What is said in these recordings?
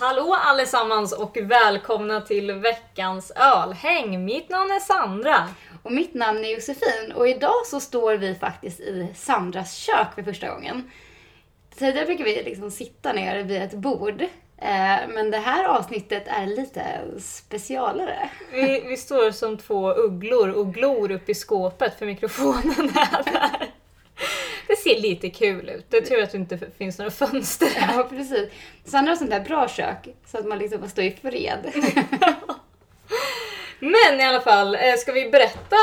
Hallå allesammans och välkomna till veckans ölhäng. Mitt namn är Sandra. Och mitt namn är Josefin och idag så står vi faktiskt i Sandras kök för första gången. Tidigare brukar vi liksom sitta ner vid ett bord. eh, Men det här avsnittet är lite specialare. Vi, vi står som två ugglor och glor upp i skåpet för mikrofonen är där. Det ser lite kul ut. Det är tur att det inte finns några fönster. Ja, precis. Sandra har sånt där bra kök så att man liksom får stå i fred. Men i alla fall, eh, ska vi berätta?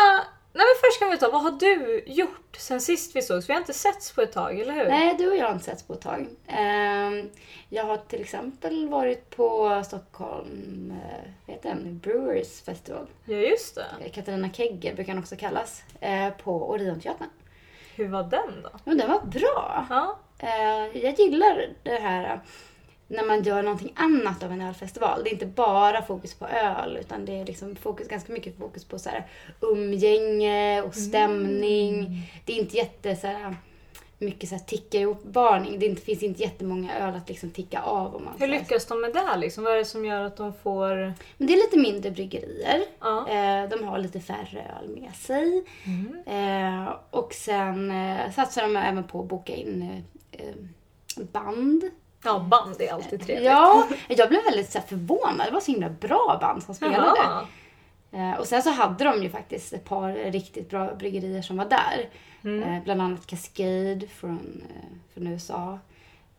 Nej men först kan vi ta, vad har du gjort sen sist vi sågs? Vi har inte setts på ett tag, eller hur? Nej, du och jag har inte setts på ett tag. Ehm, Jag har till exempel varit på Stockholm eh, vad heter den? Brewers Festival. Ja just det. Katarina Kegge brukar den också kallas. eh, På Orionteatern. Hur var den då? Men den var bra. Ja. Eh, jag gillar det här eh, när man gör någonting annat av en ölfestival. Det är inte bara fokus på öl utan det är liksom fokus, ganska mycket fokus på så här, umgänge och Mm. stämning. Det är inte jätte så här, mycket så här, ticka ihop-varning. Det är inte, finns inte jättemånga öl att liksom ticka av. Om man Hur säger. lyckas de med det här liksom? Vad är det som gör att de får... Men det är lite mindre bryggerier. Ja. Mm. Eh, De har lite färre öl med sig. Eh, Och sen eh, satsar de även på att boka in eh, eh, band Ja, band är alltid trevligt. Ja, jag blev väldigt så här, förvånad. Det var så himla bra band som spelade. Jaha. Eh, och sen så hade de ju faktiskt ett par riktigt bra bryggerier som var där. Mm. Eh, bland annat Cascade från, eh, från USA.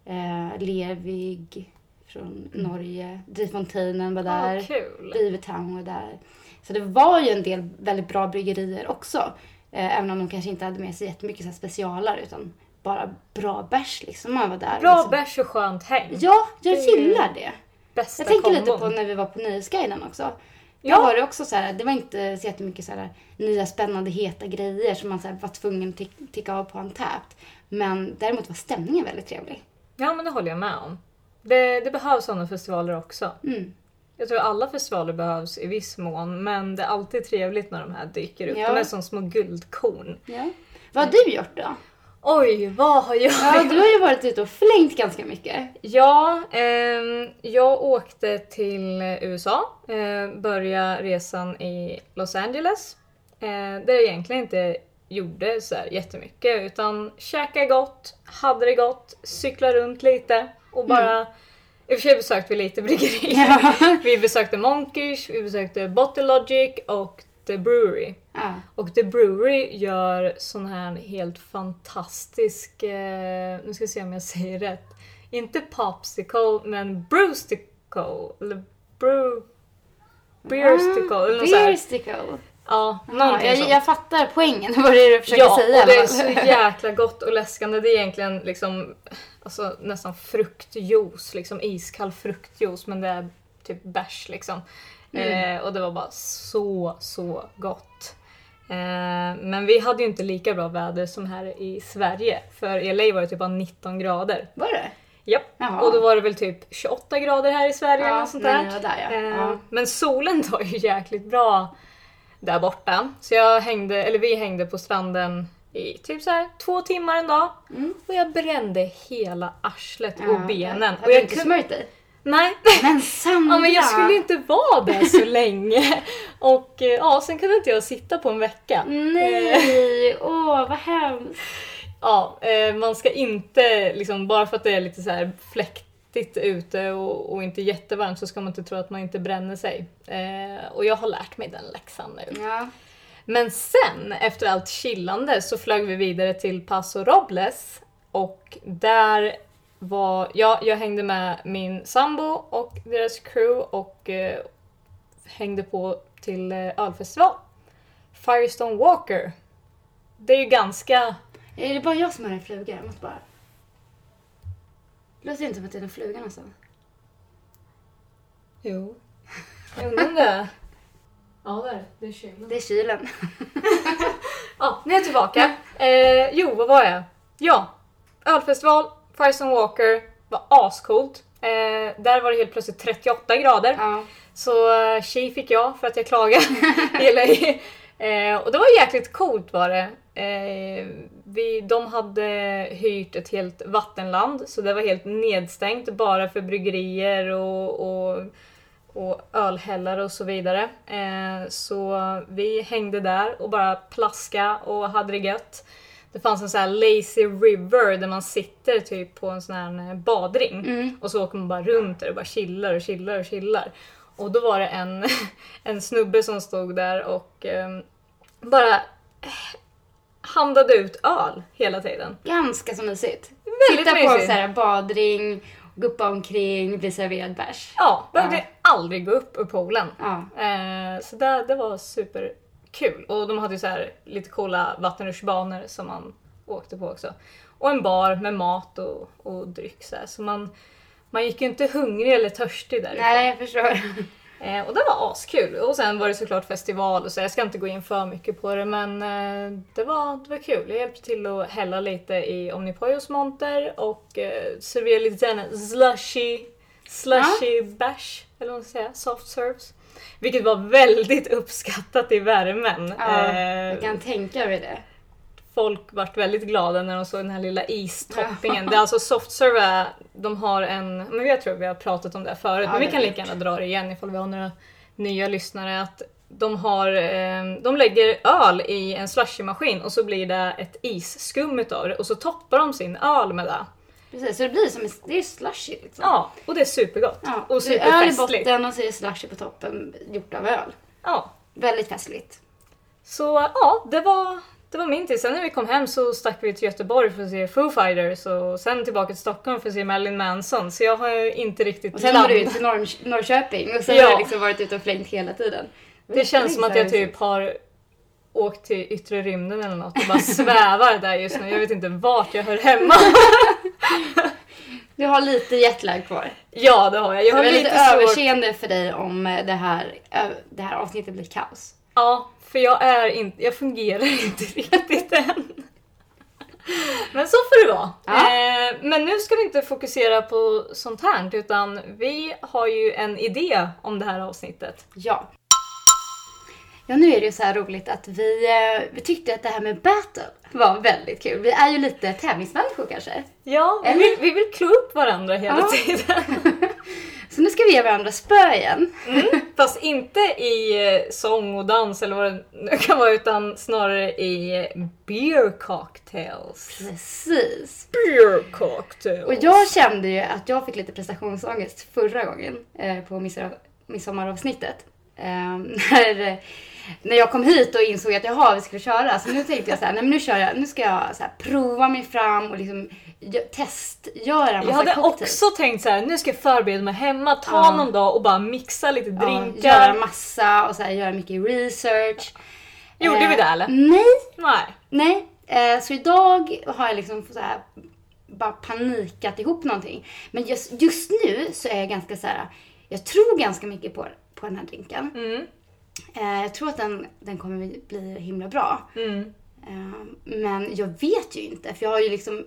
Eh, Levig från Norge. Drivfonteinen var Ja, där. Mm. Ah, kul. Beavertown var där. Så det var ju en del väldigt bra bryggerier också. Eh, även om de kanske inte hade med sig jättemycket så här specialare utan bara bra bärs liksom. Man var där. Bra liksom. bärs och skönt häng. Ja, jag Det är ju- gillar det. Bästa Jag tänker lite kombon. på när vi var på Nöjesguiden också. Ja. Ja. Då var det också så här, det var inte så jättemycket så här nya spännande heta grejer som man så här var tvungen att tick- ticka av på en täpt. Men däremot var stämningen väldigt trevlig. Ja, men det håller jag med om. Det, det behövs sådana festivaler också. Mm. Jag tror alla festivaler behövs i viss mån, men det är alltid trevligt när de här dyker upp. Ja. De är som små guldkorn. Ja. Vad har du gjort då? Oj, vad har jag Ja, du har ju varit ute och flängt ganska mycket. Ja, ehm, jag åkte till USA. Eh, började resan i Los Angeles. Eh, där jag egentligen inte gjorde så här jättemycket utan käkade gott, hade det gott, cyklade runt lite och bara... I och för sig besökte vi lite bryggerier. Ja. Vi besökte Monkish, vi besökte Bottle Logic och The Brewery. Ja. Och The Brewery gör sån här helt fantastisk, eh, nu ska jag se om jag säger rätt. Inte popsicle men brewsticle. Eller brew... Beersticle eller något sånt. här. Beerstickle. Ja, Ja, någonting jag, sånt. jag fattar poängen vad det är du försöker Ja, säga i och det är alla så fall. jäkla gott och läskande. Det är egentligen liksom, alltså, nästan fruktjuice, liksom iskall fruktjuice men det är typ bärs liksom. Mm. Eh, och det var bara så, så gott. Eh, men vi hade ju inte lika bra väder som här i Sverige. För i LA var det typ bara 19 grader. Var det? Japp. Jaha. Och då var det väl typ 28 grader här i Sverige Ja, eller något sånt när där. ni var där, ja. Eh, Ja. Men solen var ju jäkligt bra där borta. Så jag hängde, eller vi hängde på stranden i typ så här två timmar en dag. Mm. Och jag brände hela arslet och benen. Har Och du jag inte kunde- smörjt dig? Nej, Men Sandra! ja, men jag skulle inte vara där så länge. Och eh, ja, sen kunde inte jag sitta på en vecka. Mm. Nej, åh vad hemskt. Ja, eh, man ska inte, liksom, bara för att det är lite så här fläktigt ute och, och inte jättevarmt så ska man inte tro att man inte bränner sig. Eh, och jag har lärt mig den läxan nu. Ja. Men sen, efter allt chillande, så flög vi vidare till Paso Robles och där var, ja, jag hängde med min sambo och deras crew och eh, hängde på till eh, ölfestival. Firestone Walker. Det är ju ganska Är det bara jag som har en fluga? Jag måste bara... Det låter inte som att det är en fluga alltså. någonstans. Jo. Jag undrar om det är. Ja, det är det. Det är kylen. Det är kylen. Ja, nu är jag tillbaka. Eh, jo, vad var jag? Ja, ölfestival, Firestone Walker var ascoolt. Eh, där var det helt plötsligt 38 grader. Ja. Så eh, tji fick jag för att jag klagade i LA. Eh, och det var jäkligt coolt var det. Eh, vi, de hade hyrt ett helt vattenland så det var helt nedstängt bara för bryggerier och, och, och ölhällar och så vidare. Eh, så vi hängde där och bara plaska och hade det gött. Det fanns en sån här lazy river där man sitter typ på en sån här badring Mm. och så åker man bara runt där och bara chillar och chillar och chillar. Och då var det en, en snubbe som stod där och ehm, bara eh, handlade ut öl hela tiden. Ganska så mysigt. Väldigt Titta på mysigt. så här badring, guppa omkring, bli serverad bärs. Ja, behövde aldrig gå upp ur poolen. Ja. Eh, så det, det var superkul. Och de hade ju så här lite coola vattenrutschbanor som man åkte på också. Och en bar med mat och, och dryck så, här. så man, man gick ju inte hungrig eller törstig där. Nej, jag förstår. Eh, och det var askul. Och sen var det såklart festival och så. Jag ska inte gå in för mycket på det men eh, det, var, det var kul. Jag hjälpte till att hälla lite i Omnipojos monter och eh, servera lite sån slushy, slushy bash, eller vad man ska säga, soft serves. Vilket var väldigt uppskattat i värmen. Ja, Eh, Jag kan tänka mig det. folk vart väldigt glada när de såg den här lilla istoppingen. Det är alltså softserve, är- de har en, men jag tror vi har pratat om det här förut, Ja, men vi det kan har lika gärna dra det igen ifall vi har några nya lyssnare. Att de, har, eh, de lägger öl i en slushymaskin och så blir det ett isskum utav det och så toppar de sin öl med det. Precis, så det blir som en, det är slushy liksom. Ja, och det är supergott. Ja, och det är öl i superfestligt. botten och så är det slushy på toppen gjort av öl. Ja. Väldigt festligt. Så ja, det var, det var min tid. Sen när vi kom hem så stack vi till Göteborg för att se Foo Fighters och sen tillbaka till Stockholm för att se Marilyn Manson. Så jag har ju inte riktigt Och sen landat. har du ut till Norr- Norrköping och sen Ja. har du liksom varit ute och flängt hela tiden. Det känns som att jag typ har åkt till yttre rymden eller något och bara svävar där just nu. Jag vet inte vart jag hör hemma. Du har lite jetlag kvar. Ja, det har jag. Jag Jag har är lite lite svårt. överseende för dig om eh, det här, ö- det här avsnittet blir kaos. Ja, för jag är inte, jag fungerar inte riktigt än. Men så får det vara. Ja. Eh, men nu ska vi inte fokusera på sånt här utan vi har ju en idé om det här avsnittet. Ja. Ja, nu är det ju så här roligt att vi, eh, vi tyckte att det här med battle var väldigt kul. Vi är ju lite tävlingsmänniskor kanske. Ja, vi Eller? vill, vi vill klå upp varandra hela Ja. tiden. Så nu ska vi ge varandra spö igen. Fast inte i eh, sång och dans eller vad det nu kan vara utan snarare i eh, beer cocktails. Precis. Beer cocktails. Och jag kände ju att jag fick lite prestationsångest förra gången eh, på midsommar- midsommaravsnittet. Eh, när, eh, när jag kom hit och insåg att jaha, vi skulle köra. Så nu tänkte jag så här, nej men nu kör jag, nu ska jag så här, prova mig fram och liksom gö- testgöra en Jag massa hade cocktails. också tänkt så här: nu ska jag förbereda mig hemma, ta Ja. någon dag och bara mixa lite Ja, göra drinkar. massa och så här, göra mycket research. Eh, Gjorde vi det, eller? Nej, Nej. Nej, eh, så idag har jag liksom så här, bara panikat ihop någonting. Men just, just nu så är jag ganska så här. jag tror ganska mycket på, på den här drinken. Mm. Eh, jag tror att den, den kommer bli himla bra. Mm. Eh, men jag vet ju inte, för jag har ju liksom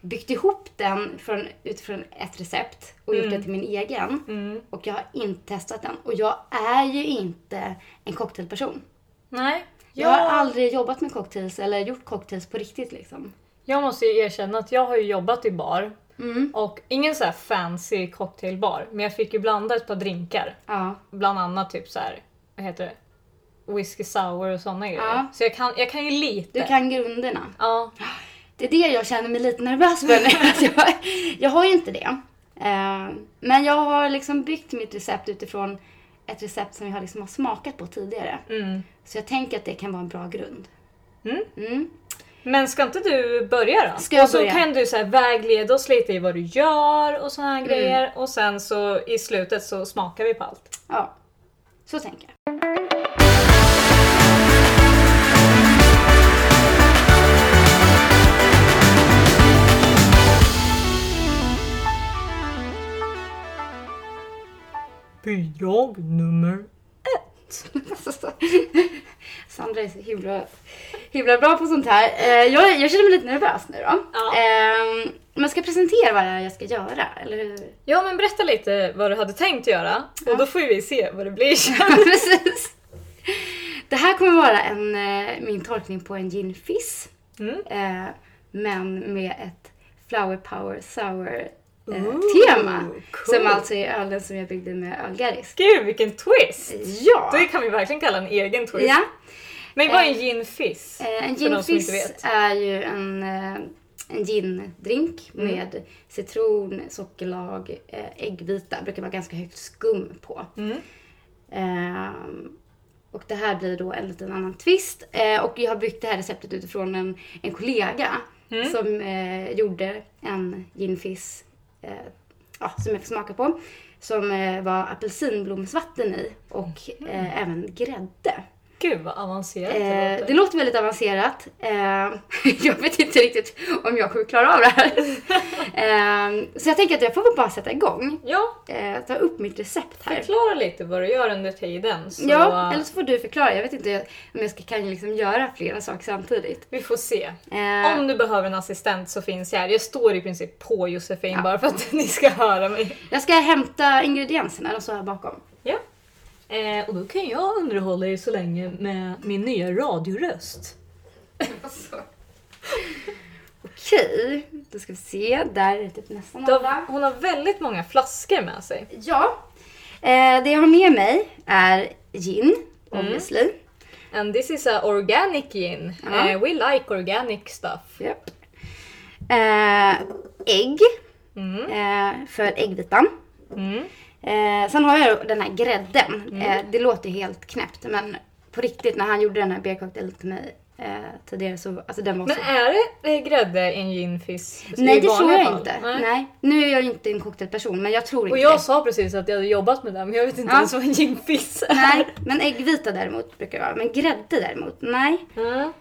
byggt ihop den från, utifrån ett recept och gjort det till min egen. Mm. Och jag har inte testat den. Och jag är ju inte en cocktailperson. Nej. Jag har Jag, aldrig jobbat med cocktails eller gjort cocktails på riktigt liksom. jag måste ju erkänna att jag har ju jobbat i bar Mm. och ingen så här fancy cocktailbar men jag fick ju blanda ett par drinkar. Ja. bland annat typ så här, vad heter det? Whiskey sour och såna grejer. Ja. Så jag kan, jag kan ju lite. Du kan grunderna. Ja. Det är det jag känner mig lite nervös för nu. Att jag, jag har ju inte det. Eh, Men jag har liksom byggt mitt recept utifrån ett recept som jag liksom har smakat på tidigare. Mm. Så jag tänker att det kan vara en bra grund. Mm. Mm. Men ska inte du börja då? Ska jag och så börja? kan du så här vägleda oss lite i vad du gör och såna här Mm. grejer. Och sen så i slutet så smakar vi på allt. Ja, så tänker jag. Bidrag nummer... Sandra är så himla, himla bra på sånt här. Eh, Jag, jag känner mig lite nervös nu då. Ja. Eh, Men ska jag presentera vad det är jag ska göra, eller hur? Ja men berätta lite vad du hade tänkt göra. Och då får ju vi se vad det blir. eh, Precis. Det här kommer vara en, eh, min tolkning på en gin fizz. Mm. Eh, men med ett flower power Ooh, sour-tema. cool. som alltså är ölen som jag byggde med ölgarisk. Gud vilken twist! Ja! Det kan vi verkligen kalla en egen twist. ja. Men vad är en gin fizz? Eh, En För de gin som inte fizz vet. är ju en, eh, en gindrink Mm. med citron, sockerlag, eh, äggvita. Brukar vara ganska högt skum på. Mm. Ehm, och det här blir då en liten annan twist. Eh, och jag har byggt det här receptet utifrån en, en kollega Mm. som eh, gjorde en gin fizz eh, ja, som jag fick smaka på. Som eh, var apelsinblomsvatten i och Mm. eh, även grädde. Gud vad avancerat det Eh, låter. det låter väldigt avancerat. Eh, jag vet inte riktigt om jag kommer klara av det här. eh, så jag tänker att jag får bara sätta igång. Ja, Eh, ta upp mitt recept här. förklara lite vad du gör under tiden. Så Ja, eller så får du förklara. Jag vet inte om jag ska, kan ju liksom göra flera saker samtidigt. Vi får se. Eh, Om du behöver en assistent så finns jag här. Jag står i princip på Josefin bara för att ni ska höra mig. Jag ska hämta ingredienserna, de står här bakom. Ja. Eh, och då kan jag underhålla er så länge med min nya radioröst. Okej, då ska vi se. Där är typ nästan Du alla. har, hon har väldigt många flaskor med sig. Ja, eh, det jag har med mig är gin, obviously. And this is a organic gin. Ja. Eh, we like organic stuff. Japp. Eh, ägg. Eh, för äggvitan. Mm. Eh, sen har jag den här grädden. Eh, det låter ju helt knäppt men på riktigt när han gjorde den här beercocktailen till mig eh, tidigare så alltså den var Men så... är det eh, grädde i en gin fizz? Nej i det tror vanliga jag fall? inte. Nej. Nej. Nu är jag ju inte en cocktailperson men jag tror inte Och jag sa precis att jag hade jobbat med det men jag vet inte Ja. ens vad en gin fizz är. det. Nej, men äggvita däremot brukar det vara. Men grädde däremot, nej. Mm.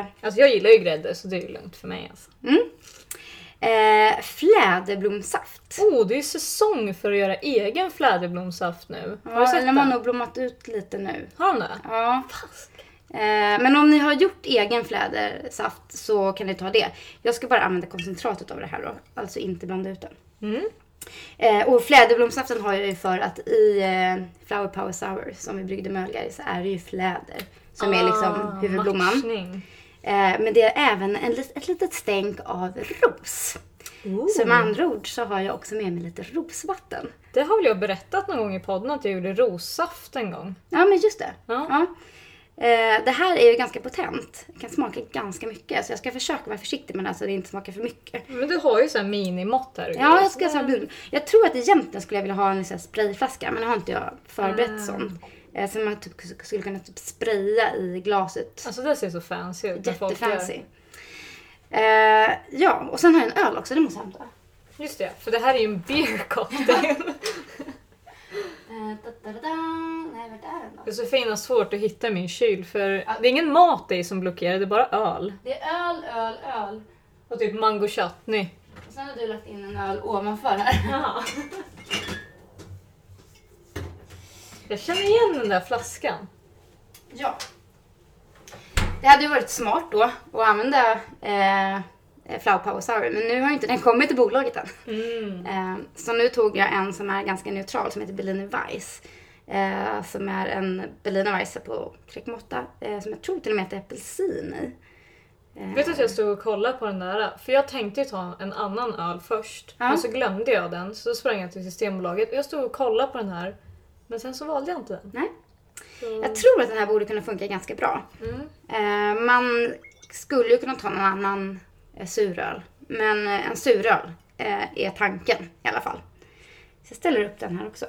Eh, Alltså jag gillar ju grädde så det är ju lugnt för mig alltså. mm. eh, fläderblomsaft. Oh, det är ju säsong för att göra egen fläderblomssaft nu. Har du Ja, sett den har den? nog blommat ut lite nu. Har de det? Ja. Fast. Eh, Men om ni har gjort egen flädersaft så kan ni ta det. Jag ska bara använda koncentratet av det här då, alltså inte blanda ut den. Mm. Eh, Och fläderblomsaften har jag ju för att i eh, Flower Power Sour som vi bryggde med ölgari så är det ju fläder som är liksom Ah, huvudblomman. Matchning. Eh, Men det är även en, lit- ett litet stänk av ros. Oh. Så med andra ord så har jag också med mig lite rosvatten. Det har väl jag berättat någon gång i podden att jag gjorde rossaft en gång. Ja men just det. Ja. Ja. Eh, Det här är ju ganska potent. Det kan smaka ganska mycket. Så jag ska försöka vara försiktig med det här så det inte smakar för mycket. Men du har ju sån här minimått här. Ja, jag ska ta bud. Jag tror att egentligen skulle jag vilja ha en sån här sprayflaska, men det har inte jag förberett sånt. Eh, Som man typ skulle kunna typ spraya i glaset. Alltså det ser så fancy ut. när folk gör- Jättefancy. Eh, ja, och sen har jag en öl också, det måste jag hämta. Just det, för det här är ju en beer cocktail. Eh, da-da-da-da. Nej, vart är den då? Josefin har svårt att hitta min kyl för det är ingen mat i som blockerar, det är bara öl. Det är öl, öl, öl. Och typ mango chutney. Och sen har du lagt in en öl ovanför här. Jag känner igen den där flaskan. Ja. Det hade ju varit smart då att använda eh, Flower Power Sour, men nu har ju inte den kommit till bolaget än. Mm. Eh, så nu tog jag en som är ganska neutral som heter Berliner Weiss. Eh, som är en Berliner Weisse på kräkmåtta eh, som jag tror till och med att det är apelsin i. Eh, Mm. Vet du att jag stod och kollade på den där? För jag tänkte ju ta en annan öl först. Ja. Men så glömde jag den så då sprang jag till Systembolaget och jag stod och kollade på den här. Men sen så valde jag inte den. Nej. Så- Jag tror att den här borde kunna funka ganska bra. Mm. Eh, man skulle ju kunna ta någon annan eh, suröl. Men eh, en suröl eh, är tanken i alla fall. Så jag ställer upp den här också.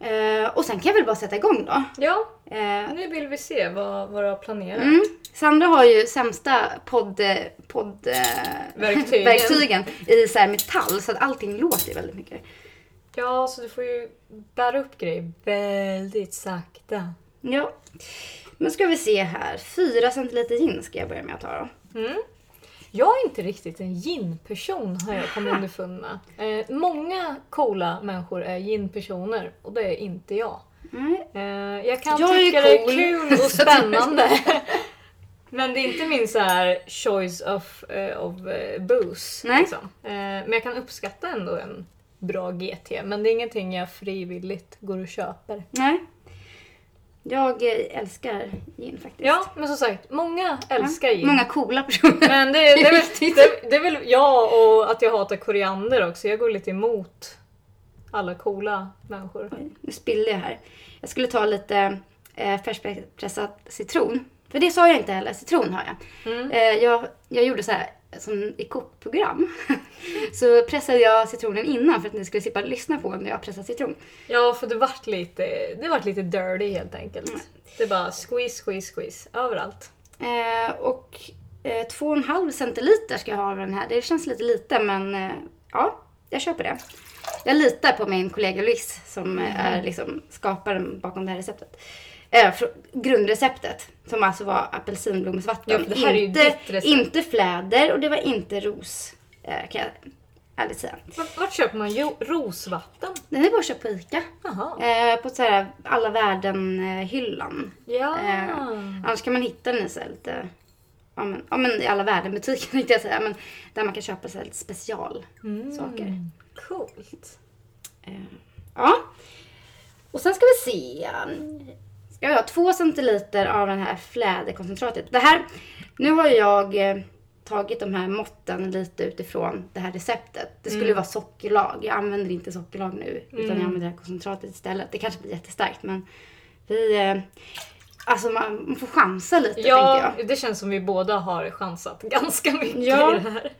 Eh, och sen kan jag väl bara sätta igång då. Ja, Eh, nu vill vi se vad, vad du har planerat. mm. Sandra har ju sämsta podd, podd, eh, Verktygen. verktygen i så här metall så att allting låter ju väldigt mycket. Ja, så du får ju bära upp grejer väldigt sakta. Ja. Nu ska vi se här. Fyra centiliter gin ska jag börja med att ta då. Mm. Jag är inte riktigt en gin-person har jag kommit underfund med. Eh, många coola människor är gin-personer och det är inte jag. Nej, Eh, jag kan Jag är tycka cool. det är kul och spännande. Men det är inte min så här choice of, eh, of eh, booze. Nej. Liksom. Eh, men jag kan uppskatta ändå en bra GT. Men det är ingenting jag frivilligt går och köper. Nej. Jag eh, älskar gin faktiskt. Ja, men som sagt, många älskar gin. Många coola personer. Men det, det, är väl, Viktigt. det, det är väl jag och att jag hatar koriander också. Jag går lite emot alla coola människor. Oj, nu spillde jag här. Jag skulle ta lite eh, färskpressad citron. För det sa jag inte heller, citron har jag. Mm. Eh, jag, jag gjorde så här, som i kockprogram. så pressade jag citronen innan för att ni skulle slippa lyssna på när jag pressade citron. Ja, för det vart lite, det vart lite dirty helt enkelt. Mm. Det bara squeeze, squeeze, squeeze överallt. Eh, och eh, 2,5 centiliter ska jag ha av den här. Det känns lite lite men eh, ja, jag köper det. Jag litar på min kollega Louise som eh, Mm. är liksom skaparen bakom det här receptet. Eh, fr- grundreceptet som alltså var Ja, apelsinblomsvatten. för det här är ju inte, ditt recept. inte fläder och det var inte ros eh, kan jag ärligt säga. Vart, vart köper man jo, rosvatten? Den är bara att köpa på ICA. Jaha. Eh, på så här alla eh, världen-hyllan. Ja. Eh, annars kan man hitta den i så här lite, ja men, ja men i alla världenbutiker tänkte jag säga, men där man kan köpa så här lite special. Mm. saker. Coolt. Eh, ja. Och sen ska vi se. Ska jag ha två centiliter av den här fläderkoncentratet. Det här, nu har ju jag eh, tagit de här måtten lite utifrån det här receptet. Det skulle ju vara sockerlag. Jag använder inte sockerlag nu utan jag använder det här koncentratet istället. Det kanske blir jättestarkt men vi, eh, alltså man, man får chansa lite tänker jag. Ja, det känns som vi båda har chansat ganska mycket Ja. i det här.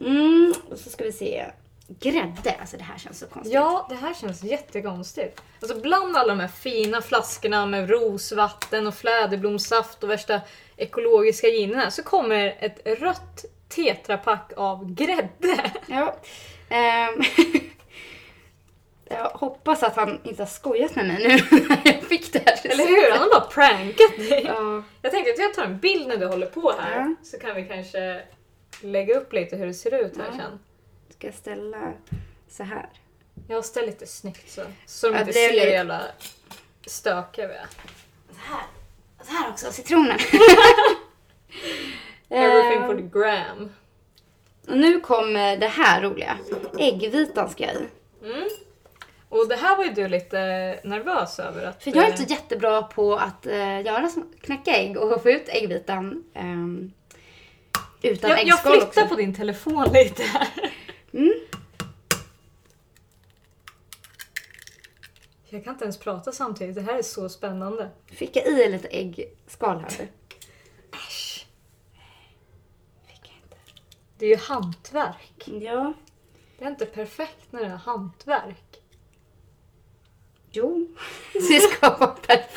Mm, och så ska vi se. Grädde, alltså det här känns så konstigt. Ja, det här känns jättekonstigt. Alltså bland alla de här fina flaskorna med rosvatten och fläderblomssaft och värsta ekologiska ginerna så kommer ett rött tetrapack av grädde. Ja. Ehm, jag hoppas att han inte har skojat med mig nu när jag fick det här. Eller hur? Han har bara prankat dig. Ja. Jag tänkte att jag tar en bild när du håller på här Ja. så kan vi kanske lägga upp lite hur det ser ut här Ja. sen. Ska jag ställa så här? Jag ställer lite snyggt så, så de Ja, inte det är ser hur lite- jävla stökiga vi är. Så här, så här också, citronen. Everything Ehm, for the gram. och nu kommer det här roliga. Äggvitan ska jag i. Mm. Och det här var ju du lite nervös över. Att, eh, För jag är inte så jättebra på att eh, göra så, knäcka ägg och få ut äggvitan ehm, utan jag, jag äggskal flyttar också. på din telefon lite här. Mm. Jag kan inte ens prata samtidigt, det här är så spännande. Fick jag i lite äggskal här? Äsch, Fick jag inte. det är ju hantverk. Ja. Det är inte perfekt när det är hantverk. Jo. Det ska vara perfekt.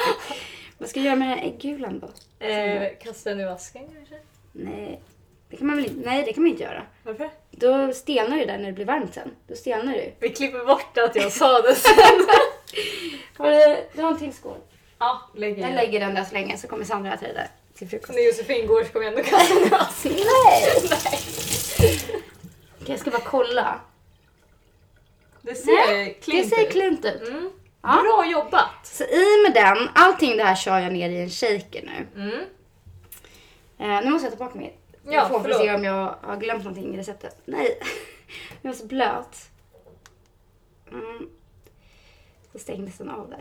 Vad ska jag göra med den här äggulan då? Eh, kasta den i vasken kanske? Nej. Det kan man väl inte, nej, det kan man inte göra. Varför? Då stelnar det där när det blir varmt sen. Då stelnar det ju. Vi klipper bort att jag sa det sen. Har du, du har en till skål? ja, lägg i Jag den. lägger den där så länge så kommer Sandra äta det där till frukost. När Josefin går så kommer jag ändå kasta den i vasken. Nej! Okej, jag ska bara kolla. Det ser det klint ser ut. klint ut. Mm. Ja. Bra jobbat! Så i med den. Allting det här kör jag ner i en shaker nu. Mm. Eh, nu måste jag ta tillbaka min Ja, telefon för att förlåt. se om jag har glömt någonting i receptet. Nej, jag var så blöt. Mm. Det stängdes den av där.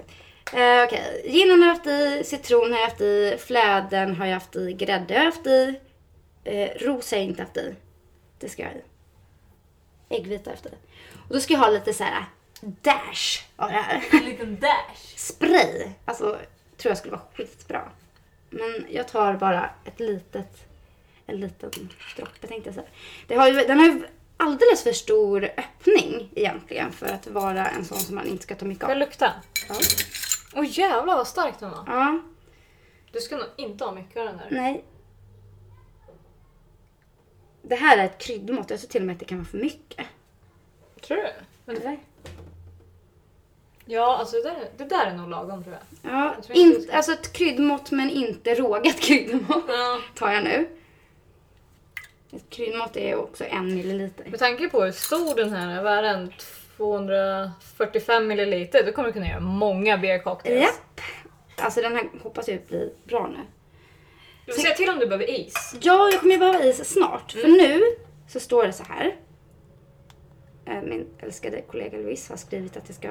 Eh, Okej, ginen har jag haft i, citron har jag haft i, fläden har jag haft i, grädde har jag haft i, eh, ros har jag inte haft i. Det ska jag ha i. Äggvita efter. Och då ska jag ha lite så här dash av det här. En liten dash. Spray! Alltså, tror jag skulle vara skitbra. Men jag tar bara ett litet, en liten droppe tänkte jag säga. Det har ju, den har ju alldeles för stor öppning egentligen för att vara en sån som man inte ska ta mycket Får jag av. lukta? Ja. Åh jävlar vad stark den var. Ja, Du ska nog inte ha mycket av den där. nej. Det här är ett kryddmått. Jag tror till och med att det kan vara för mycket. Tror du? Men, Eller? ja, alltså det där, det där är nog lagom tror jag. Ja, Jag tror inte det inte, ska- alltså ett kryddmått men inte rågat kryddmått Ja. tar jag nu. Ett kryddmått är också en milliliter. Med tanke på hur stor den här är, vad är den? 245 milliliter, då kommer du kunna göra många beer cocktails. Japp. Alltså den här hoppas jag blir bra nu. Du får säga till om du behöver is. Mm. Ja, jag kommer ju behöva is snart. För nu så står det så här. eh, min älskade kollega Louise har skrivit att jag ska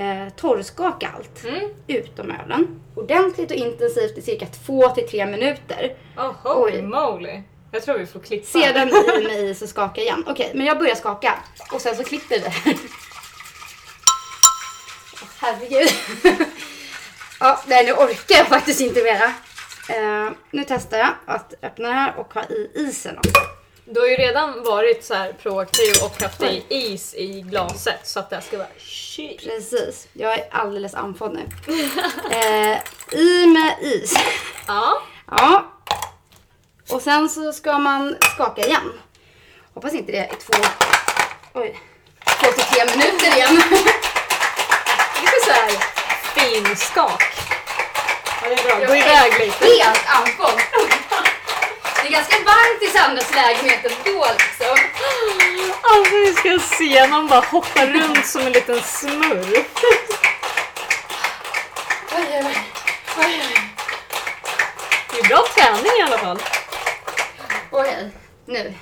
eh, torrskaka allt Mm. utom ölen. Ordentligt och intensivt i cirka 2-3 minuter. Oh, holy Oj. moly. Jag tror vi får klippa. Sedan i med is och skaka igen. Okej, men jag börjar skaka. Och sen så klipper vi. Åh, herregud. ja, nej nu orkar jag faktiskt inte mera. Eh, nu testar jag att öppna här och ha i isen också. Du har ju redan varit så här proaktiv och haft i is i glaset så att det ska vara kylt. Precis, jag är alldeles andfådd nu. Eh, I med is. Ja. Ja. Och sen så ska man skaka igen. Hoppas inte det är två... Oj. Två till tre minuter igen. Lite så här finskak. Ja, det är bra. Gå Jag iväg är lite. Helt andfådd. Det är ganska varmt i Sandras lägenhet ändå liksom. Alltså vi ska se någon bara hoppa runt som en liten smurf. Oj, oj, oj. Oj, oj. Det är bra träning i alla fall. Oj, nu.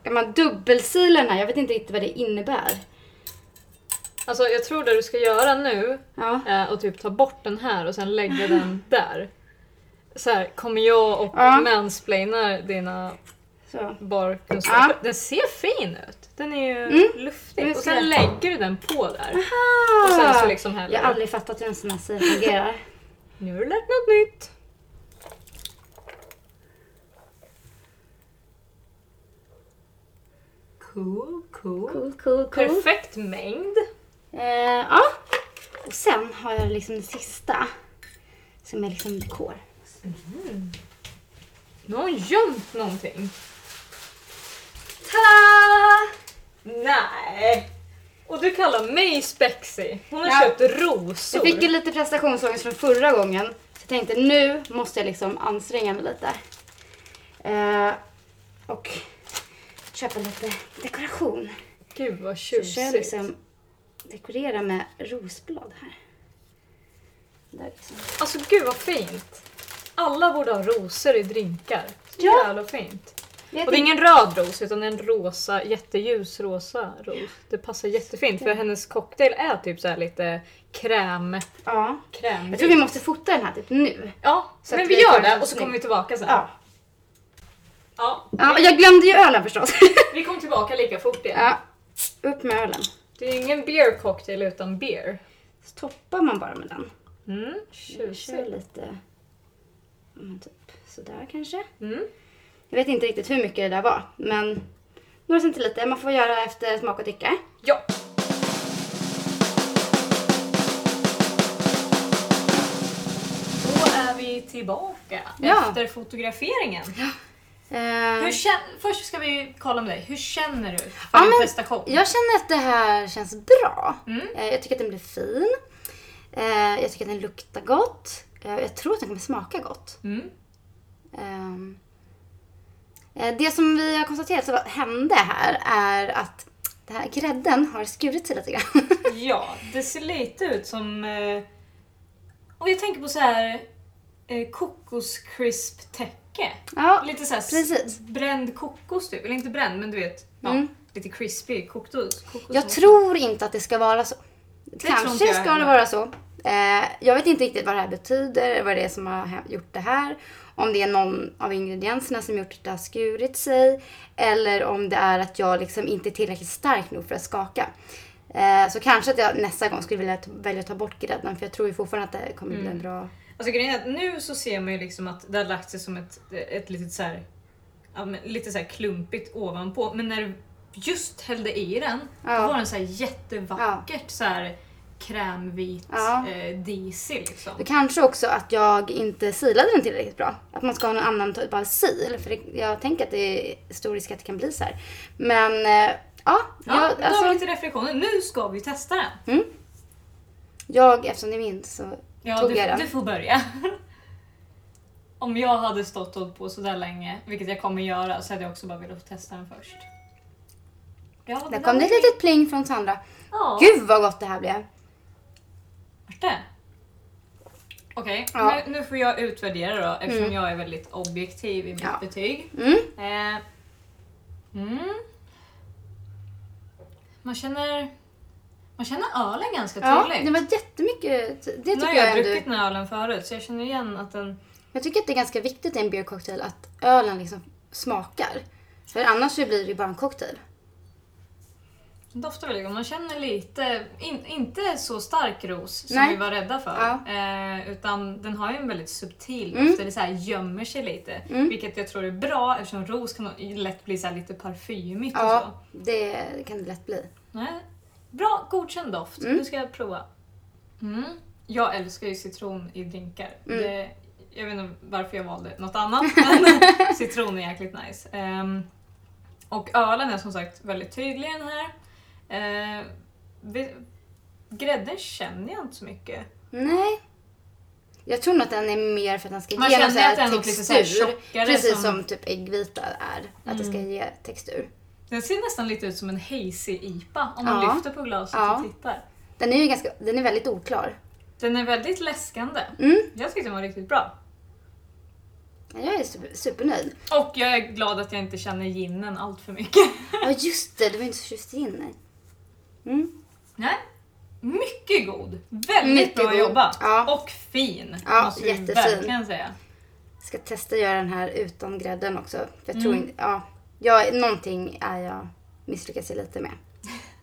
Ska man dubbelsila den här? Jag vet inte riktigt vad det innebär. Alltså jag tror det du ska göra nu Ja. är att typ ta bort den här och sen lägga den där. Så här, kommer jag och Ja. mansplainar dina Så. barkunskaper. Ja. Den ser fin ut. Den är ju Mm. luftig. Jag Och ska sen göra. lägger du den på där. Och sen så liksom häller Ah. Jag du. har aldrig fattat hur en sån här sida fungerar. Nu har du lärt något nytt. Cool, cool. Cool, cool, cool. Perfekt mängd. Eh, ja. Och sen har jag liksom det sista. Som är liksom dekor. Nu har hon gömt någonting. Ta-da! Nej! Och du kallar mig spexig. Hon har Ja. köpt rosor. Jag fick ju lite prestationsångest från förra gången. Så jag tänkte nu måste jag liksom anstränga mig lite. Eh, och köpa lite dekoration. Gud vad Så ska jag tjusigt. liksom dekorera med rosblad här. Där liksom. Alltså gud vad fint. Alla borde ha rosor i drinkar. Så Ja. jävla fint. Jag Och det är tänkte- ingen röd ros utan en rosa, jätteljus rosa ros. Det passar jättefint för hennes cocktail är typ så här lite kräm. Ja. kräm. Jag tror vi måste fota den här typ nu. Ja, Så men att vi vi gör får det en och så snygg- kommer vi tillbaka sen. Ja. Ja, ja jag glömde ju ölen förstås. vi kom tillbaka lika fort igen. ja. Upp med ölen. Det är ju ingen beer cocktail utan beer. Så toppar man bara med den. Mm, Jag kör tjusigt. lite ja, men typ sådär kanske. Mm. Jag vet inte riktigt hur mycket det där var, men några centiliter. Man får göra efter smak och tycke. Ja. Då är vi tillbaka Ja. efter fotograferingen. Eh, Hur kän- Först ska vi kolla med dig. Hur känner du för Ja, din men- prestation? jag känner att det här känns bra. Mm. Eh, jag tycker att den blir fin. Eh, jag tycker att den luktar gott. Eh, jag tror att den kommer smaka gott. Mm. Ehm, eh, det som vi har konstaterat så vad hände här är att den här grädden har skurit sig lite grann. Ja, det ser lite ut som... eh, Och jag tänker på så här eh, kokoscrisp-täcke. ja, Lite så här s- Precis. bränd kokos typ. Eller inte bränd, men du vet. Ja, Mm. Lite crispy kokos. kokos Jag tror inte att det ska vara så. tror Kanske inte jag ska det heller. vara så. Eh, jag vet inte riktigt vad det här betyder, vad det är som har hä- gjort det här. Om det är någon av ingredienserna som gjort att det har skurit sig. Eller om det är att jag liksom inte är tillräckligt stark nog för att skaka. Eh, så kanske att jag nästa gång skulle vilja t- välja att ta bort grädden. För jag tror ju fortfarande att det kommer bli en bra... Alltså grejen är att nu så ser man ju liksom att det har lagt sig som ett, ett litet så här, ja, men lite så här klumpigt ovanpå. Men när du just hällde i den, Ja. då var den så här jättevackert så här krämvit Ja. eh, diesel liksom. Det kanske också att jag inte silade den tillräckligt bra. Att man ska ha någon annan typ av sil. För det, jag tänker att det är stor risk att det kan bli så här. Men eh, ja, Ja, jag, då har vi alltså, lite reflektioner. Nu ska vi testa den. jag eftersom det är min så Ja, tog du, jag den. du får börja. Om jag hade stått och hållit på sådär länge, vilket jag kommer göra, så hade jag också bara velat testa den först. Ja, Där där kom var det ett litet pling från Sandra. Ja. Gud vad gott det här blev. Vart det? Okej, Ja. nu, nu får jag utvärdera då eftersom Mm. jag är väldigt objektiv i mitt Ja. betyg. Mm. Eh, mm. Man känner, man känner ölen ganska Ja, tydligt. det var jättemycket. Det nu tycker har jag, jag ändå. druckit den här ölen förut så jag känner igen att den... Jag tycker att det är ganska viktigt i en beer cocktail att ölen liksom smakar. För annars så blir det ju bara en cocktail. den doftar väldigt gott. Man känner lite, in, inte så stark ros som Nej. vi var rädda för. Ja. Eh, utan den har ju en väldigt subtil doft, Mm. eller så här gömmer sig lite. Mm. Vilket jag tror är bra eftersom ros kan lätt bli så här lite parfymigt och så. Ja, det kan det lätt bli. Nej. Bra, godkänd doft. Mm. Nu ska jag prova. Mm. Jag älskar ju citron i drinkar. Mm. Det, jag vet inte varför jag valde något annat, men citron är jäkligt nice. Ehm, och ölen är som sagt väldigt tydlig i den här. Ehm, vi, grädden känner jag inte så mycket. Nej. Jag tror nog att den är mer för att den ska Man ge någon känner så att den här är något lite så här textur. tjockare Precis som- Mm. som... typ äggvita är. Att det ska ge textur. Den ser nästan lite ut som en hazy IPA om man Ja. lyfter på glaset Ja. och tittar. Den är ju ganska, den är väldigt oklar. Den är väldigt läskande. Mm. Jag tyckte den var riktigt bra. Jag är super, supernöjd. Och jag är glad att jag inte känner ginen allt för mycket. Ja just det, du var inte så förtjust i gin. Mm. Nej. Mycket god. Väldigt Mycket bra god. jobbat. Ja. Och fin. Ja, måste vi jättefin. verkligen säga. Ska testa att göra den här utan grädden också. För jag Mm. tror inte, ja. Jag, någonting är jag misslyckas jag lite med.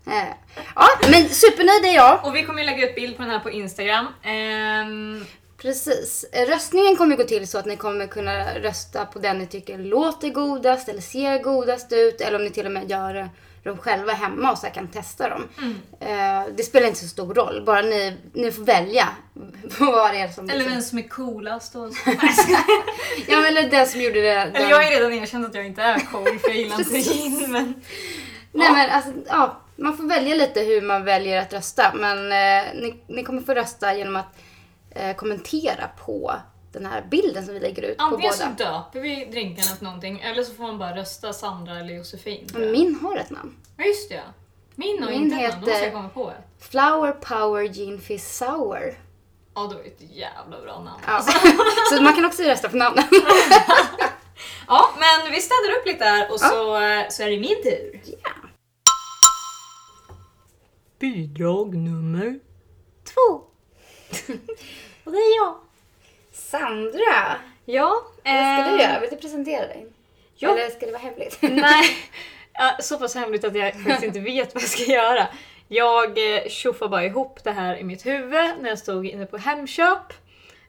Eh, ja, men supernöjd är jag. Och vi kommer ju lägga ut bild på den här på Instagram. Mm. Ehm, Precis. Eh, Röstningen kommer gå till så att ni kommer kunna rösta på den ni tycker låter godast eller ser godast ut. Eller om ni till och med gör eh, dem själva hemma och så här kan testa dem. Mm. Eh, Det spelar inte så stor roll, bara ni, ni får välja vad det är som... liksom- eller vem som är coolast och så. Nej, jag skojar. Ja, men eller den som gjorde det. Eller den- jag har ju redan erkänt att jag inte är cool för jag gillar inte gin. Men Nej men alltså, ja. Man får välja lite hur man väljer att rösta. Men eh, ni, ni kommer få rösta genom att eh, kommentera på den här bilden som vi lägger ut på antingen båda. så döper vi drinkarna till någonting eller så får man bara rösta Sandra eller Josefin. tror jag. Min har ett namn. Ja just det. Min och Mm. Min inte heter... då måste jag heter- komma på ett. Flower Power Gene Fizz Sour. Ja det var ju ett jävla bra namn. Ja. så man kan också rösta på namnen. Ja, men vi städar upp lite här och så, eh, så är det min tur. Bidrag nummer... Två. Och det är jag. Sandra. Ja. Vad eh, ska du göra? Vill du presentera dig? Ja. Eller ska det vara hemligt? Nej, ja, så pass hemligt att jag faktiskt inte vet vad jag ska göra. Jag eh, tjoffade bara ihop det här i mitt huvud när jag stod inne på Hemköp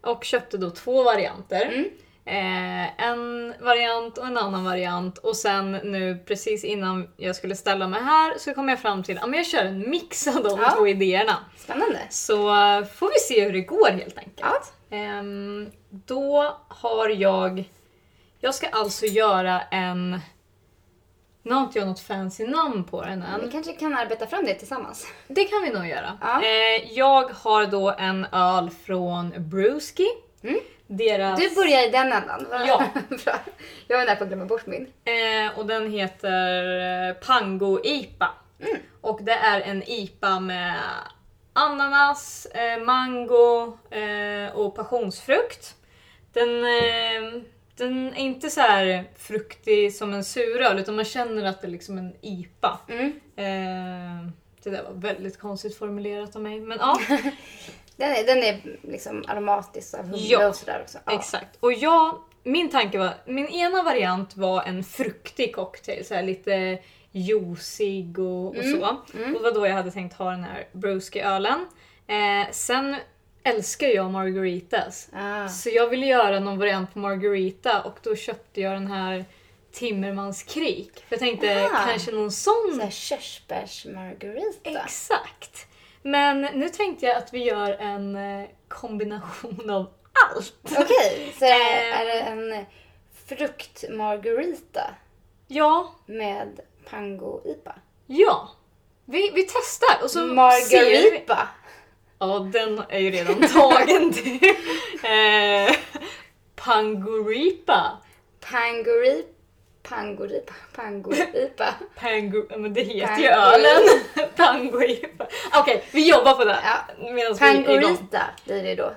och köpte då två varianter. Eh, en variant och en annan variant och sen nu precis innan jag skulle ställa mig här så kom jag fram till att jag kör en mix av de Ja. två idéerna. Spännande. Så eh, får vi se hur det går helt enkelt. Ja. Ehm, då har jag... Jag ska alltså göra en... Nu har inte jag något fancy namn på den än. Vi kanske kan arbeta fram det tillsammans. Det kan vi nog göra. Ja. Eh, jag har då en öl från Brewski. Mm. Deras... Du börjar i den ändan. Vad- Ja. Bra. Jag var nära på att glömma bort min. Eh, och den heter eh, Pango IPA. Och det är en IPA med ananas, eh, mango eh, och passionsfrukt. Den, eh, den är inte så här fruktig som en suröl utan man känner att det är liksom en IPA. Mm. Eh, det där var väldigt konstigt formulerat av mig men ja. Den är, den är liksom aromatisk av humle Ja. och sådär också. Ja. Exakt. Och jag, min tanke var, min ena variant var en fruktig cocktail, så här lite juicig och, och så. Och det var då jag hade tänkt ha den här brewski-ölen. Eh, sen älskar jag margaritas. Ah. Så jag ville göra någon variant på margarita och då köpte jag den här Timmermans krik. För jag tänkte Ah. kanske någon sån Såhär körsbärsmargarita. Exakt. Men nu tänkte jag att vi gör en eh, kombination av allt. Okej, så är, Eh. är det en fruktmargarita Ja, med pango-ipa? Ja. Vi, vi testar och så ser vi. Margaripa? Ja, den är ju redan tagen till. eh, pangoripa. Pangori... Pangoripa? Pangoripa? Pango, ja, men det heter ju Pango- ölen. Pangoripa. Okej, vi jobbar på det. Ja. Medan vi är igång. Pangorita blir det då.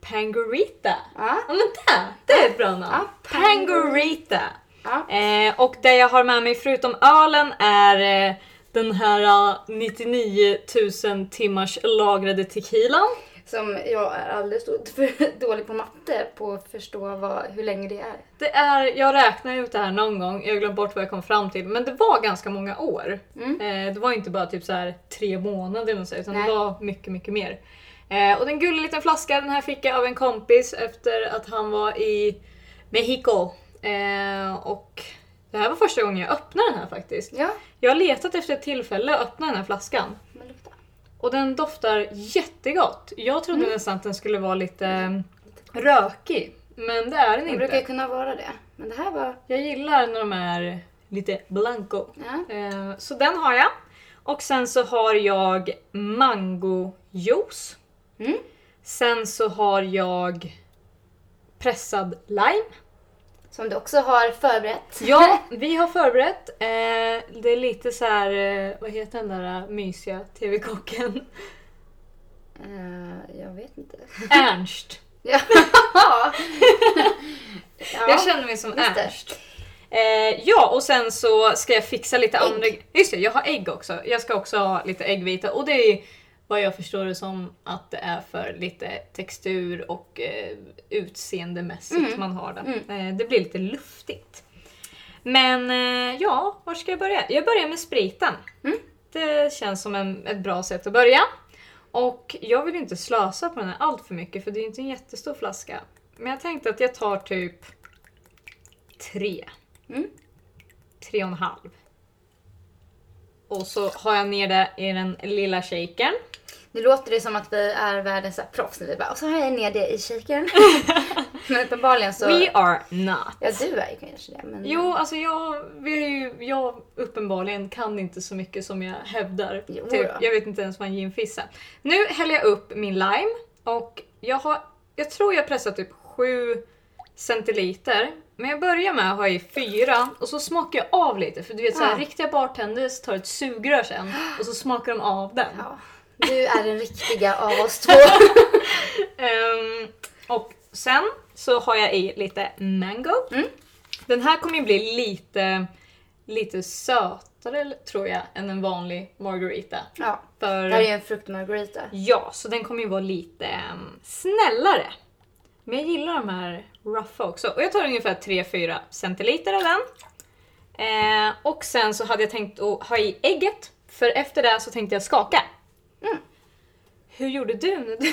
Pangorita. Ja. Ja, men det, det är ett bra namn. Ja, Pangorita. ja. Eh, och det jag har med mig förutom ölen är eh, den här eh, 99 000 timmars lagrade tequilan. Som jag är alldeles då- för dålig på matte på att förstå vad, hur länge det är. Det är, jag räknar ut det här någon gång, jag har glömt bort vad jag kom fram till, men det var ganska många år. Mm. Eh, det var inte bara typ så här tre månader eller något sånt, utan Nej. det var mycket, mycket mer. Eh, och den gulliga liten flaskan, den här fick jag av en kompis efter att han var i Mexico. Eh, och det här var första gången jag öppnade den här faktiskt. Ja, Jag har letat efter ett tillfälle att öppna den här flaskan. men lukta. Och den doftar jättegott. Jag trodde Mm. nästan att den skulle vara lite eh, rökig. Men det är den Det inte. brukar ju kunna vara det. Men det här var... Jag gillar när de är lite blanco. Ja. Eh, Så den har jag. Och sen så har jag mangojuice. Mm. Sen så har jag pressad lime. Som du också har förberett. Ja, vi har förberett. Eh, det är lite så här, eh, vad heter den där eh, mysiga TV-kocken? Eh, jag vet inte. Ernst. Ja. Jag ja. känner mig som just det. Ernst. Eh, ja, och sen så ska jag fixa lite andra... Just det, jag har ägg också. Jag ska också ha lite äggvita och det är vad jag förstår det som att det är för lite textur och eh, utseendemässigt man har det. Eh, det blir lite luftigt. Men eh, ja, var ska jag börja? Jag börjar med spriten. Det känns som en, ett bra sätt att börja. Och jag vill inte slösa på den här allt för mycket för det är inte en jättestor flaska. Men jag tänkte att jag tar typ tre. Mm. Tre och en halv. Och så har jag ner det i den lilla shakern. Nu låter det som att vi är världens så här proffs när vi bara och så har jag ner det i shakern. men uppenbarligen så... We are not. Ja, du är ju kanske det. Men... Jo, alltså jag, vi är ju, jag uppenbarligen kan inte så mycket som jag hävdar. Jo Typ, då. jag vet inte ens vad en ginfiss är. Nu häller jag upp min lime och jag har, jag tror jag pressar typ 7 centiliter. Men jag börjar med att ha i fyra och så smakar jag av lite för du vet såhär Ja. riktiga bartenders tar ett sugrör sen och så smakar de av den. Ja. Du är den riktiga av oss två. Ehm, och sen så har jag i lite mango. Mm. Den här kommer ju bli lite, lite sötare tror jag än en vanlig margarita. Ja. För, Det här är ju en fruktmargarita. Ja, så den kommer ju vara lite ehm, snällare. Men jag gillar de här ruffa också. Och jag tar ungefär 3-4 centiliter av den. Eh, och sen så hade jag tänkt att ha i ägget, för efter det så tänkte jag skaka. Mm. Hur gjorde du när du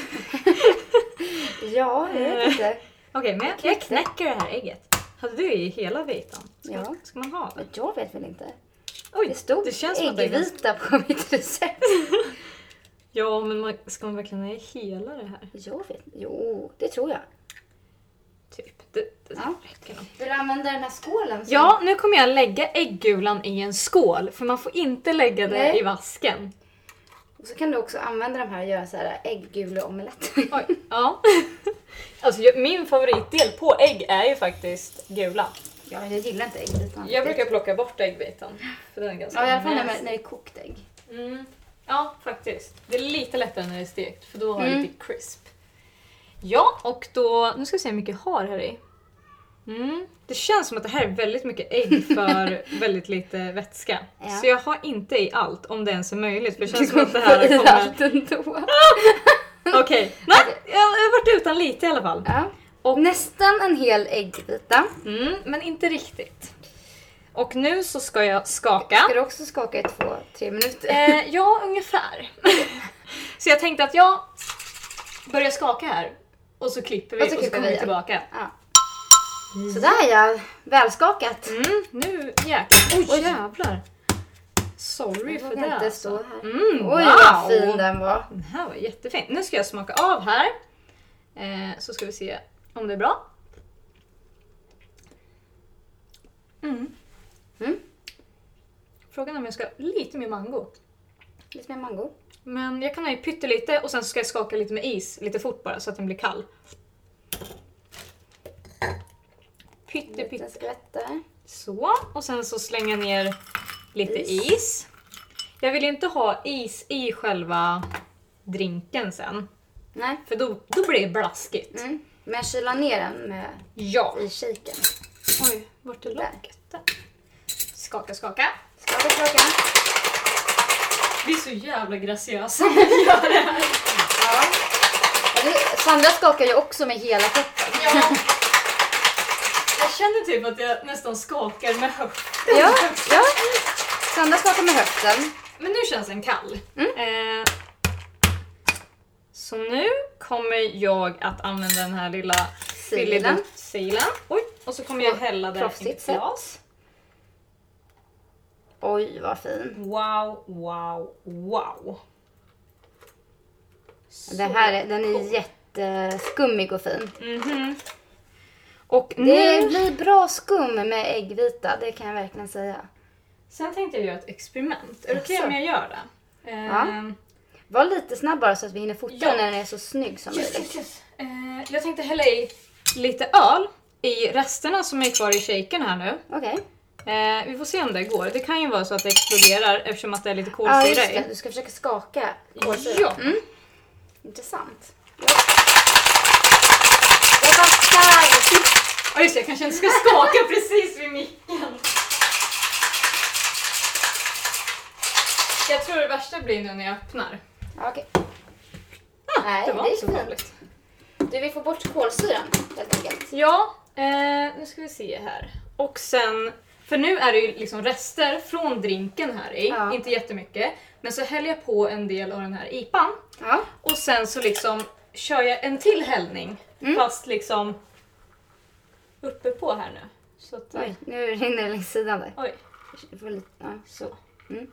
Ja, jag Eh. vet inte. Okej, men jag, jag knäcker det här ägget. Hade du i hela vitan? Ska, Ja. ska man ha det? Men Jag vet väl inte. Oj, Det stod som att det är ganska- äggvita på mitt recept. Ja, men man, ska man verkligen ha i hela det här? Jag vet Jo, det tror jag. Typ. Det, det Ja. räcker nog. Vill du använda den här skålen? som- Ja, nu kommer jag lägga äggulan i en skål, för man får inte lägga det Nej. i vasken. Och så kan du också använda de här och göra så här ägguleomelett. Oj, ja. Alltså jag- min favoritdel på ägg är ju faktiskt gula. Ja, jag gillar inte äggbitarna. Jag brukar plocka bort äggviten, för den är ganska Ja, i alla fall när, nasty. när det är kokt ägg. Mm. Ja, faktiskt. Det är lite lättare när det är stekt för då har det Mm. lite crisp. Ja, och då... Nu ska vi se hur mycket jag har här i. Mm. Det känns som att det här är väldigt mycket ägg för väldigt lite vätska. Ja. Så jag har inte i allt, om det ens är möjligt. För det känns som att det här kommer... allt ändå. Okej. Nej, jag har varit utan lite i alla fall. Ja. Och- Nästan en hel äggbita. Mm, men inte riktigt. Och nu så ska jag skaka. Ska du också skaka i två, tre minuter? Eh, ja, ungefär. så jag tänkte att jag börjar skaka här. Och så klipper vi Och och så så, klipper kommer vi vi igen. tillbaka. Ja. Sådär ja, välskakat. Mm, nu jäklar. Oj, jävlar. Sorry Jag för vågar det. inte Alltså. stå här. Mm, Oj wow. vad fin den var. Den här var jättefin. Nu ska jag smaka av här. Eh, så ska vi se om det är bra. Mm. Mm. Frågan är om jag ska ha lite mer mango. Lite mer mango. Men jag kan ha i pyttelite och sen ska jag skaka lite med is, lite fort bara så att den blir kall. Pytte, Lite pytte. skvätt där. Så, och sen så slänger jag ner lite Is. is. Jag vill ju inte ha is i själva drinken sen, Nej. för då, då blir det blaskigt. Mm. Men kyla ner den med, Ja. i shaken. Oj, vart är Där. locket? Där. Skaka, skaka. Skaka, skaka. Vi är så jävla graciösa när vi gör det här. Det- Sandra skakar ju också med hela kroppen. Ja. Jag känner typ att jag nästan skakar med höften. Ja, ja. Sandra skakar med höften. Men nu känns den kall. Mm. Eh, så nu kommer jag att använda den här lilla Silen. silen. Oj, och så kommer jag hälla den i Proffsigt ett sätt. glas. Oj, vad fin. Wow, wow, wow. Det här, är- den är jätteskummig och fin. Mhm. Och Det nu... blir bra skum med äggvita, det kan jag verkligen säga. Sen tänkte jag göra ett experiment. Är det okej Jaså? om jag gör det? Eh, Ja. Var lite snabbare så att vi hinner fota Ja. när den är så snygg som Yes, yes, möjligt. yes. Eh, jag tänkte hälla i lite öl i resterna som är kvar i shaken här nu. Okej. Eh, vi får se om det går. Det kan ju vara så att det exploderar eftersom att det är lite Ja, kolsyra just det. i. Du ska försöka skaka kolsyra. Ja. Intressant. Jag backar! Ja, just det, jag kanske inte ska skaka precis vid micken. Jag tror det värsta blir nu när jag öppnar. Ja, Okej. Nej, Ah, Det var det inte så är fint. farligt. Du vill få bort kolsyran helt enkelt. Ja, eh, nu ska vi se här. Och sen, för nu är det ju liksom rester från drinken här i, Ja. inte jättemycket. Men så häller jag på en del av den här IPan Ja. och sen så liksom kör jag en till hällning fast liksom uppe på här nu. Så att, Oj, nu rinner det längs sidan där. oj. Du får lite, ja. Så. Mm.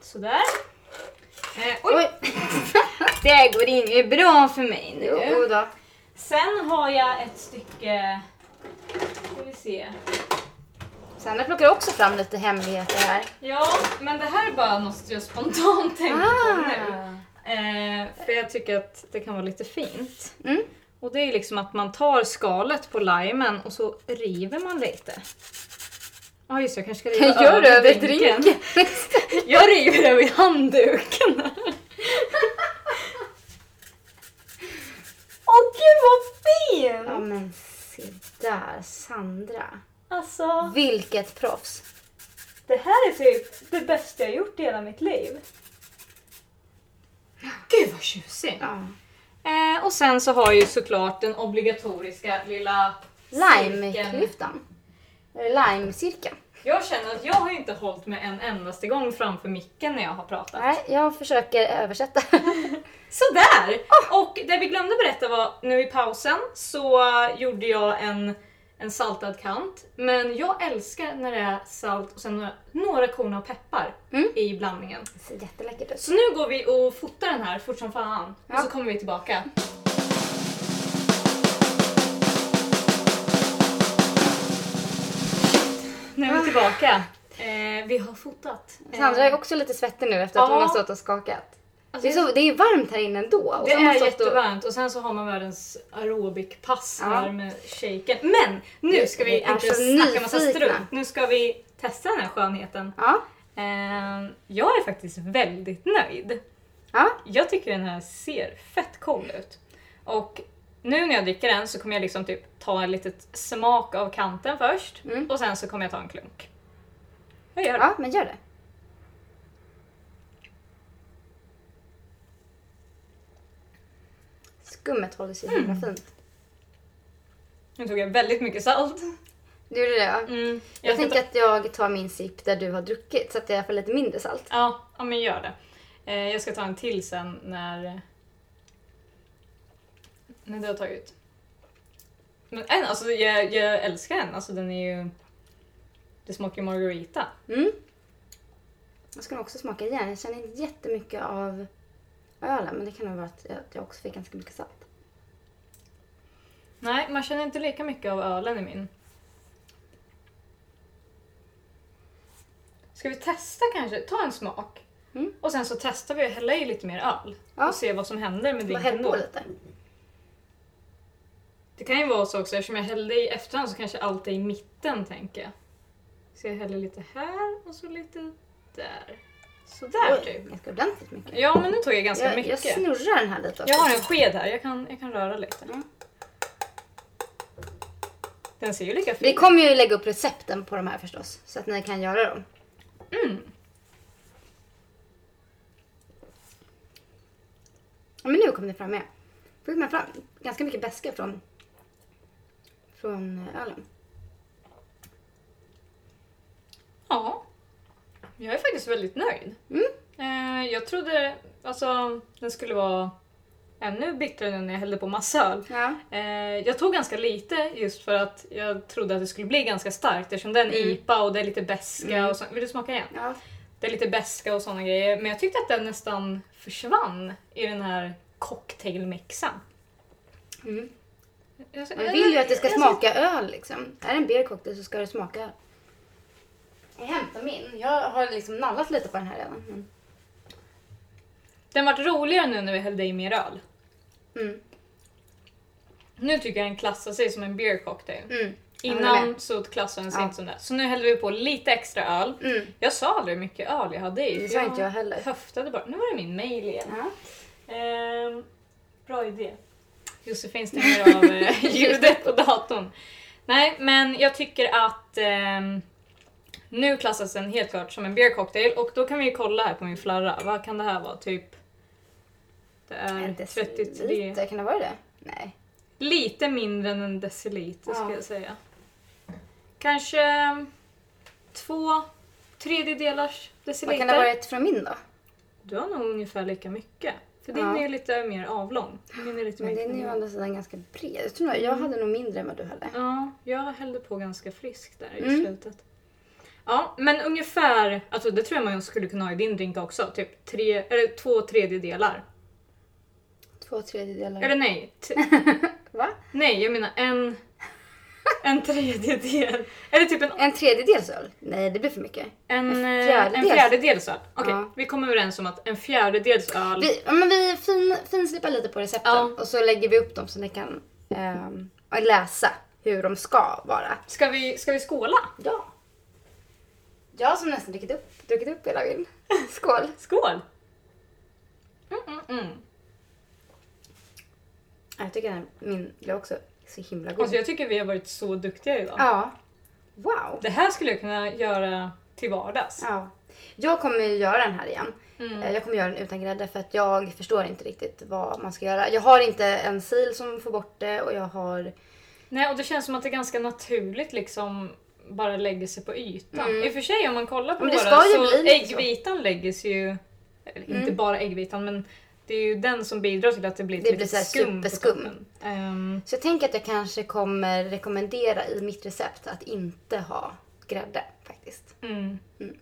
Sådär. Eh, oj, Oj! det går inget bra för mig Jo, jo då. Sen har jag ett stycke... Ska vi se. Sandra plockar också fram lite hemligheter här. Ja, men det här är bara något jag spontant tänkte på nu. Ah. Eh, för jag tycker att det kan vara lite fint. Mm. Och det är liksom att man tar skalet på limen och så river man lite. Ja ah, just det, jag kanske ska riva Gör du över drinken. drinken? Jag river över handduken. Åh gud vad ja fin! men se där, Sandra. Alltså, Vilket proffs. det här är typ det bästa jag gjort i hela mitt liv. Gud vad tjusig! Ja. Eh, och sen så har jag ju såklart den obligatoriska lilla cirkeln. Lime-klyftan. Eller Lime-cirkeln. Jag känner att jag har ju inte hållit mig en endaste gång framför micken när jag har pratat. Nej, jag försöker översätta. Sådär! Och det vi glömde berätta var, nu i pausen så eh, gjorde jag en, en saltad kant. Men jag älskar när det är salt och sen några, några korn av peppar Mm. i blandningen. Det ser jätteläckert ut. Så nu går vi och fotar den här fort som fan Ja. och så kommer vi tillbaka. Nu Ah. är vi tillbaka. Eh, vi har fotat. Eh, Sandra är också lite svettig nu efter att hon Ja. har stått och skakat. alltså Det är, så, det är varmt här inne ändå. Och Det så har hon är stått och- jättevarmt och sen så har man världens aerobikpass Ja. här med shaken. Men nu ska vi Vi är inte så snacka massa nyfikna. strunt. Nu ska vi testa den här skönheten. Ja, Eh, jag är faktiskt väldigt nöjd. ja. Jag tycker den här ser fett cool ut. Och nu när jag dricker den så kommer jag liksom typ ta en litet smak av kanten först Mm. och sen så kommer jag ta en klunk. Jag gör det. Ja, men gör det. Skummet håller sig himla fint. Nu tog jag väldigt mycket salt. Du gjorde det, ja. Mm. Jag, ska tänker att jag tar min sipp där du har druckit så att det är i alla fall lite mindre salt. Ja, ja men gör det. Eh, jag ska ta en till sen när, när du har tagit. Men en, alltså jag, jag älskar den. Alltså den är ju... Det smakar ju margarita. Mm. Jag ska nog också smaka igen. Jag känner inte jättemycket av ölen men det kan nog vara att jag, att jag också fick ganska mycket salt. Nej, man känner inte lika mycket av ölen i min. Ska vi testa kanske? Ta en smak. Mm. Och sen så testar vi att hälla i lite mer öl. Ja. Och se vad som händer med Bara drinken häll då. på lite. Det kan ju vara så också, eftersom jag hällde i efterhand så kanske allt är i mitten tänker jag. Så jag häller lite här och så lite där. Sådär Oj, typ. ganska ordentligt mycket. Ja men nu tog jag ganska Jag, jag mycket. Jag, snurrar den här lite också. har en sked här, jag kan, jag kan röra lite. Mm. Den ser ju lika fin Vi ut. kommer ju lägga upp Mm. recepten på de här förstås så att ni kan göra dem. Mm. Ja, men nu kom det fram med. Fick man fram ganska mycket beska från, från ölen. Ja. Jag är faktiskt väldigt nöjd. Mm. Eh, jag trodde alltså, den skulle vara ännu bittrare när jag hällde på massa öl. Ja. Eh, jag tog ganska lite just för att jag trodde att det skulle bli ganska starkt eftersom det är en Mm. IPA och det är lite beska Mm. och så. Vill du smaka igen? ja. Det är lite beska och såna grejer. Men jag tyckte att den nästan försvann i den här cocktailmixen. Mm. Jag- Man vill ju att det ska jag- smaka öl liksom. Är det en beer cocktail så ska det smaka öl. Jag hämtar min. Jag har liksom nallat lite på den här redan. Mm. Den vart roligare nu när vi hällde i mer öl. Mm. Nu tycker jag den klassar sig som en beer cocktail. Mm. Jag håller med. Innan så klassade den sig Ja. inte som det. Så nu hällde vi på lite extra öl. Mm. Jag sa aldrig hur mycket öl jag hade i. för Det sa inte jag heller. höftade bara. Nu var det min mail igen. Ja. Ehm, bra idé. Josefin stänger av eh, ljudet på datorn. Nej, men jag tycker att ehm, nu klassas den helt klart som en beer cocktail och då kan vi ju kolla här på min flarra. Vad kan det här vara? Typ... Det är En 33... deciliter, kan det vara det? Nej. Lite mindre än en deciliter Ja. ska jag säga. Kanske två tredjedelars Vad deciliter. kan det ha varit från min då? Du har nog ungefär lika mycket. För din Ja. är lite mer avlång. Min är lite Men mer den är ju å andra sidan ganska bred. Jag, tror nog, jag hade nog mindre än vad du hade. Ja, jag hällde på ganska friskt där i Mm. slutet. Ja, men ungefär, alltså det tror jag man skulle kunna ha i din drink också. Typ tre, eller två tredjedelar. Två tredjedelar. Eller nej, t- Va? nej jag menar en, en tredjedel. Eller typ en En tredjedels öl? Nej, det blir för mycket. En, En eh, en fjärdedels. fjärdedels öl. Okej, Ja. vi kommer överens om att en fjärdedels öl. Vi, ja, men vi fin, finslipar lite på recepten Ja. och så lägger vi upp dem så ni kan ehm, läsa hur de ska vara. Ska, vi, ska vi skåla? Ja. Jag som nästan druckit upp, druckit upp hela min. Skål. Skål! Mm, mm, mm. Jag tycker den min blev också så himla god. Alltså, jag tycker vi har varit så duktiga idag. Ja. Wow. Det här skulle jag kunna göra till vardags. Ja. Jag kommer ju göra den här igen. Mm. Eh, Jag kommer göra den utan grädde för att jag förstår inte riktigt vad man ska göra. Jag har inte en sil som får bort det och jag har... Nej, och det känns som att det är ganska naturligt liksom bara lägger sig på ytan. Mm. I och för sig om man kollar på Men det våra ska ju så bli lite så. äggvitan lägger sig ju, eller inte Mm. bara äggvitan men det är ju den som bidrar till att det blir Det lite blir så här skum på superskum. toppen. Ehm, Så jag tänker att jag kanske kommer rekommendera i mitt recept att inte ha grädde faktiskt. Mm. Mm.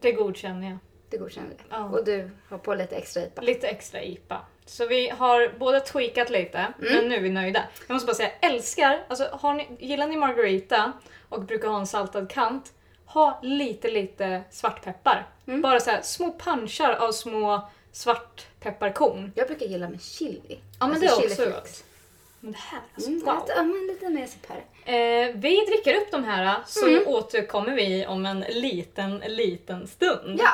Det godkänner jag. Det godkänner jag. Ja. Och du har på lite extra IPA. Lite extra IPA. Så vi har båda tweakat lite, Mm. men nu är vi nöjda. Jag måste bara säga, jag älskar, alltså har ni, gillar ni margarita och brukar ha en saltad kant, ha lite, lite svartpeppar. Mm. Bara så här, små punchar av små svartpepparkorn. Jag brukar gilla med chili. Ja men Alltså det är chili också flakes. gott. Men det här, alltså Mm, wow. lite, ja, men lite mesig här. Eh, vi dricker upp de här eh, så Mm. återkommer vi om en liten, liten stund. Ja!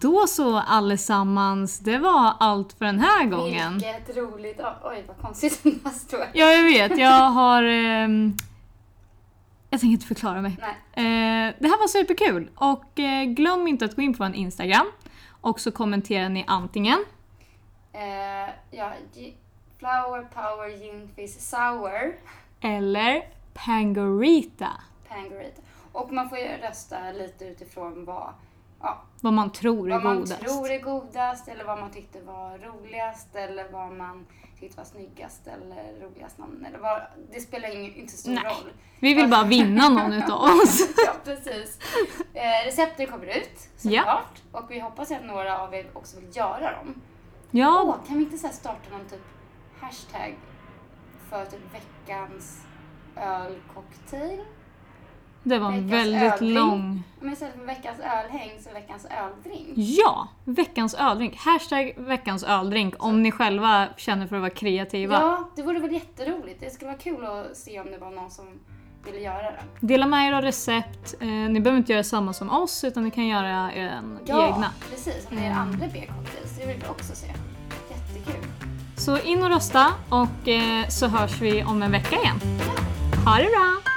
Då så allesammans, det var allt för den här gången. Vilket roligt av- Oj vad konstigt den här står. Ja, jag vet. Jag har... ehm, jag tänker inte förklara mig. Nej. Eh, det här var superkul och eh, glöm inte att gå in på vår Instagram och så kommenterar ni antingen Eh, ja, gi- flower power gin fizz sour eller Pangorita. pangorita. Och man får ju rösta lite utifrån vad, ja, Vad man tror är vad man godast. tror är godast eller vad man tyckte var roligast eller vad man tyckte var snyggast eller roligast namn. Eller vad, det spelar ingen, inte så stor Nej. roll. Vi vill bara vinna någon utav oss. Ja, precis. Eh, recepten kommer ut Ja. såklart och vi hoppas att några av er också vill göra dem. Ja, Åh, kan vi inte så här starta någon typ hashtag för typ veckans ölcocktail? det var en Veckans väldigt öldrink. lång... Men istället för veckans ölhäng så veckans öldrink. Ja! Veckans öldrink. Hashtag veckans öldrink om ni själva känner för att vara kreativa. Ja, det vore väl jätteroligt. Det skulle vara kul att se om det var någon som ville göra det. Dela med er av recept. Eh, ni behöver inte göra samma som oss utan ni kan göra er Ja, egna. precis. Om det är andra B-cocktails, det vill vi också se. Jättekul. Så in och rösta och eh, så hörs vi om en vecka igen. Ha det bra!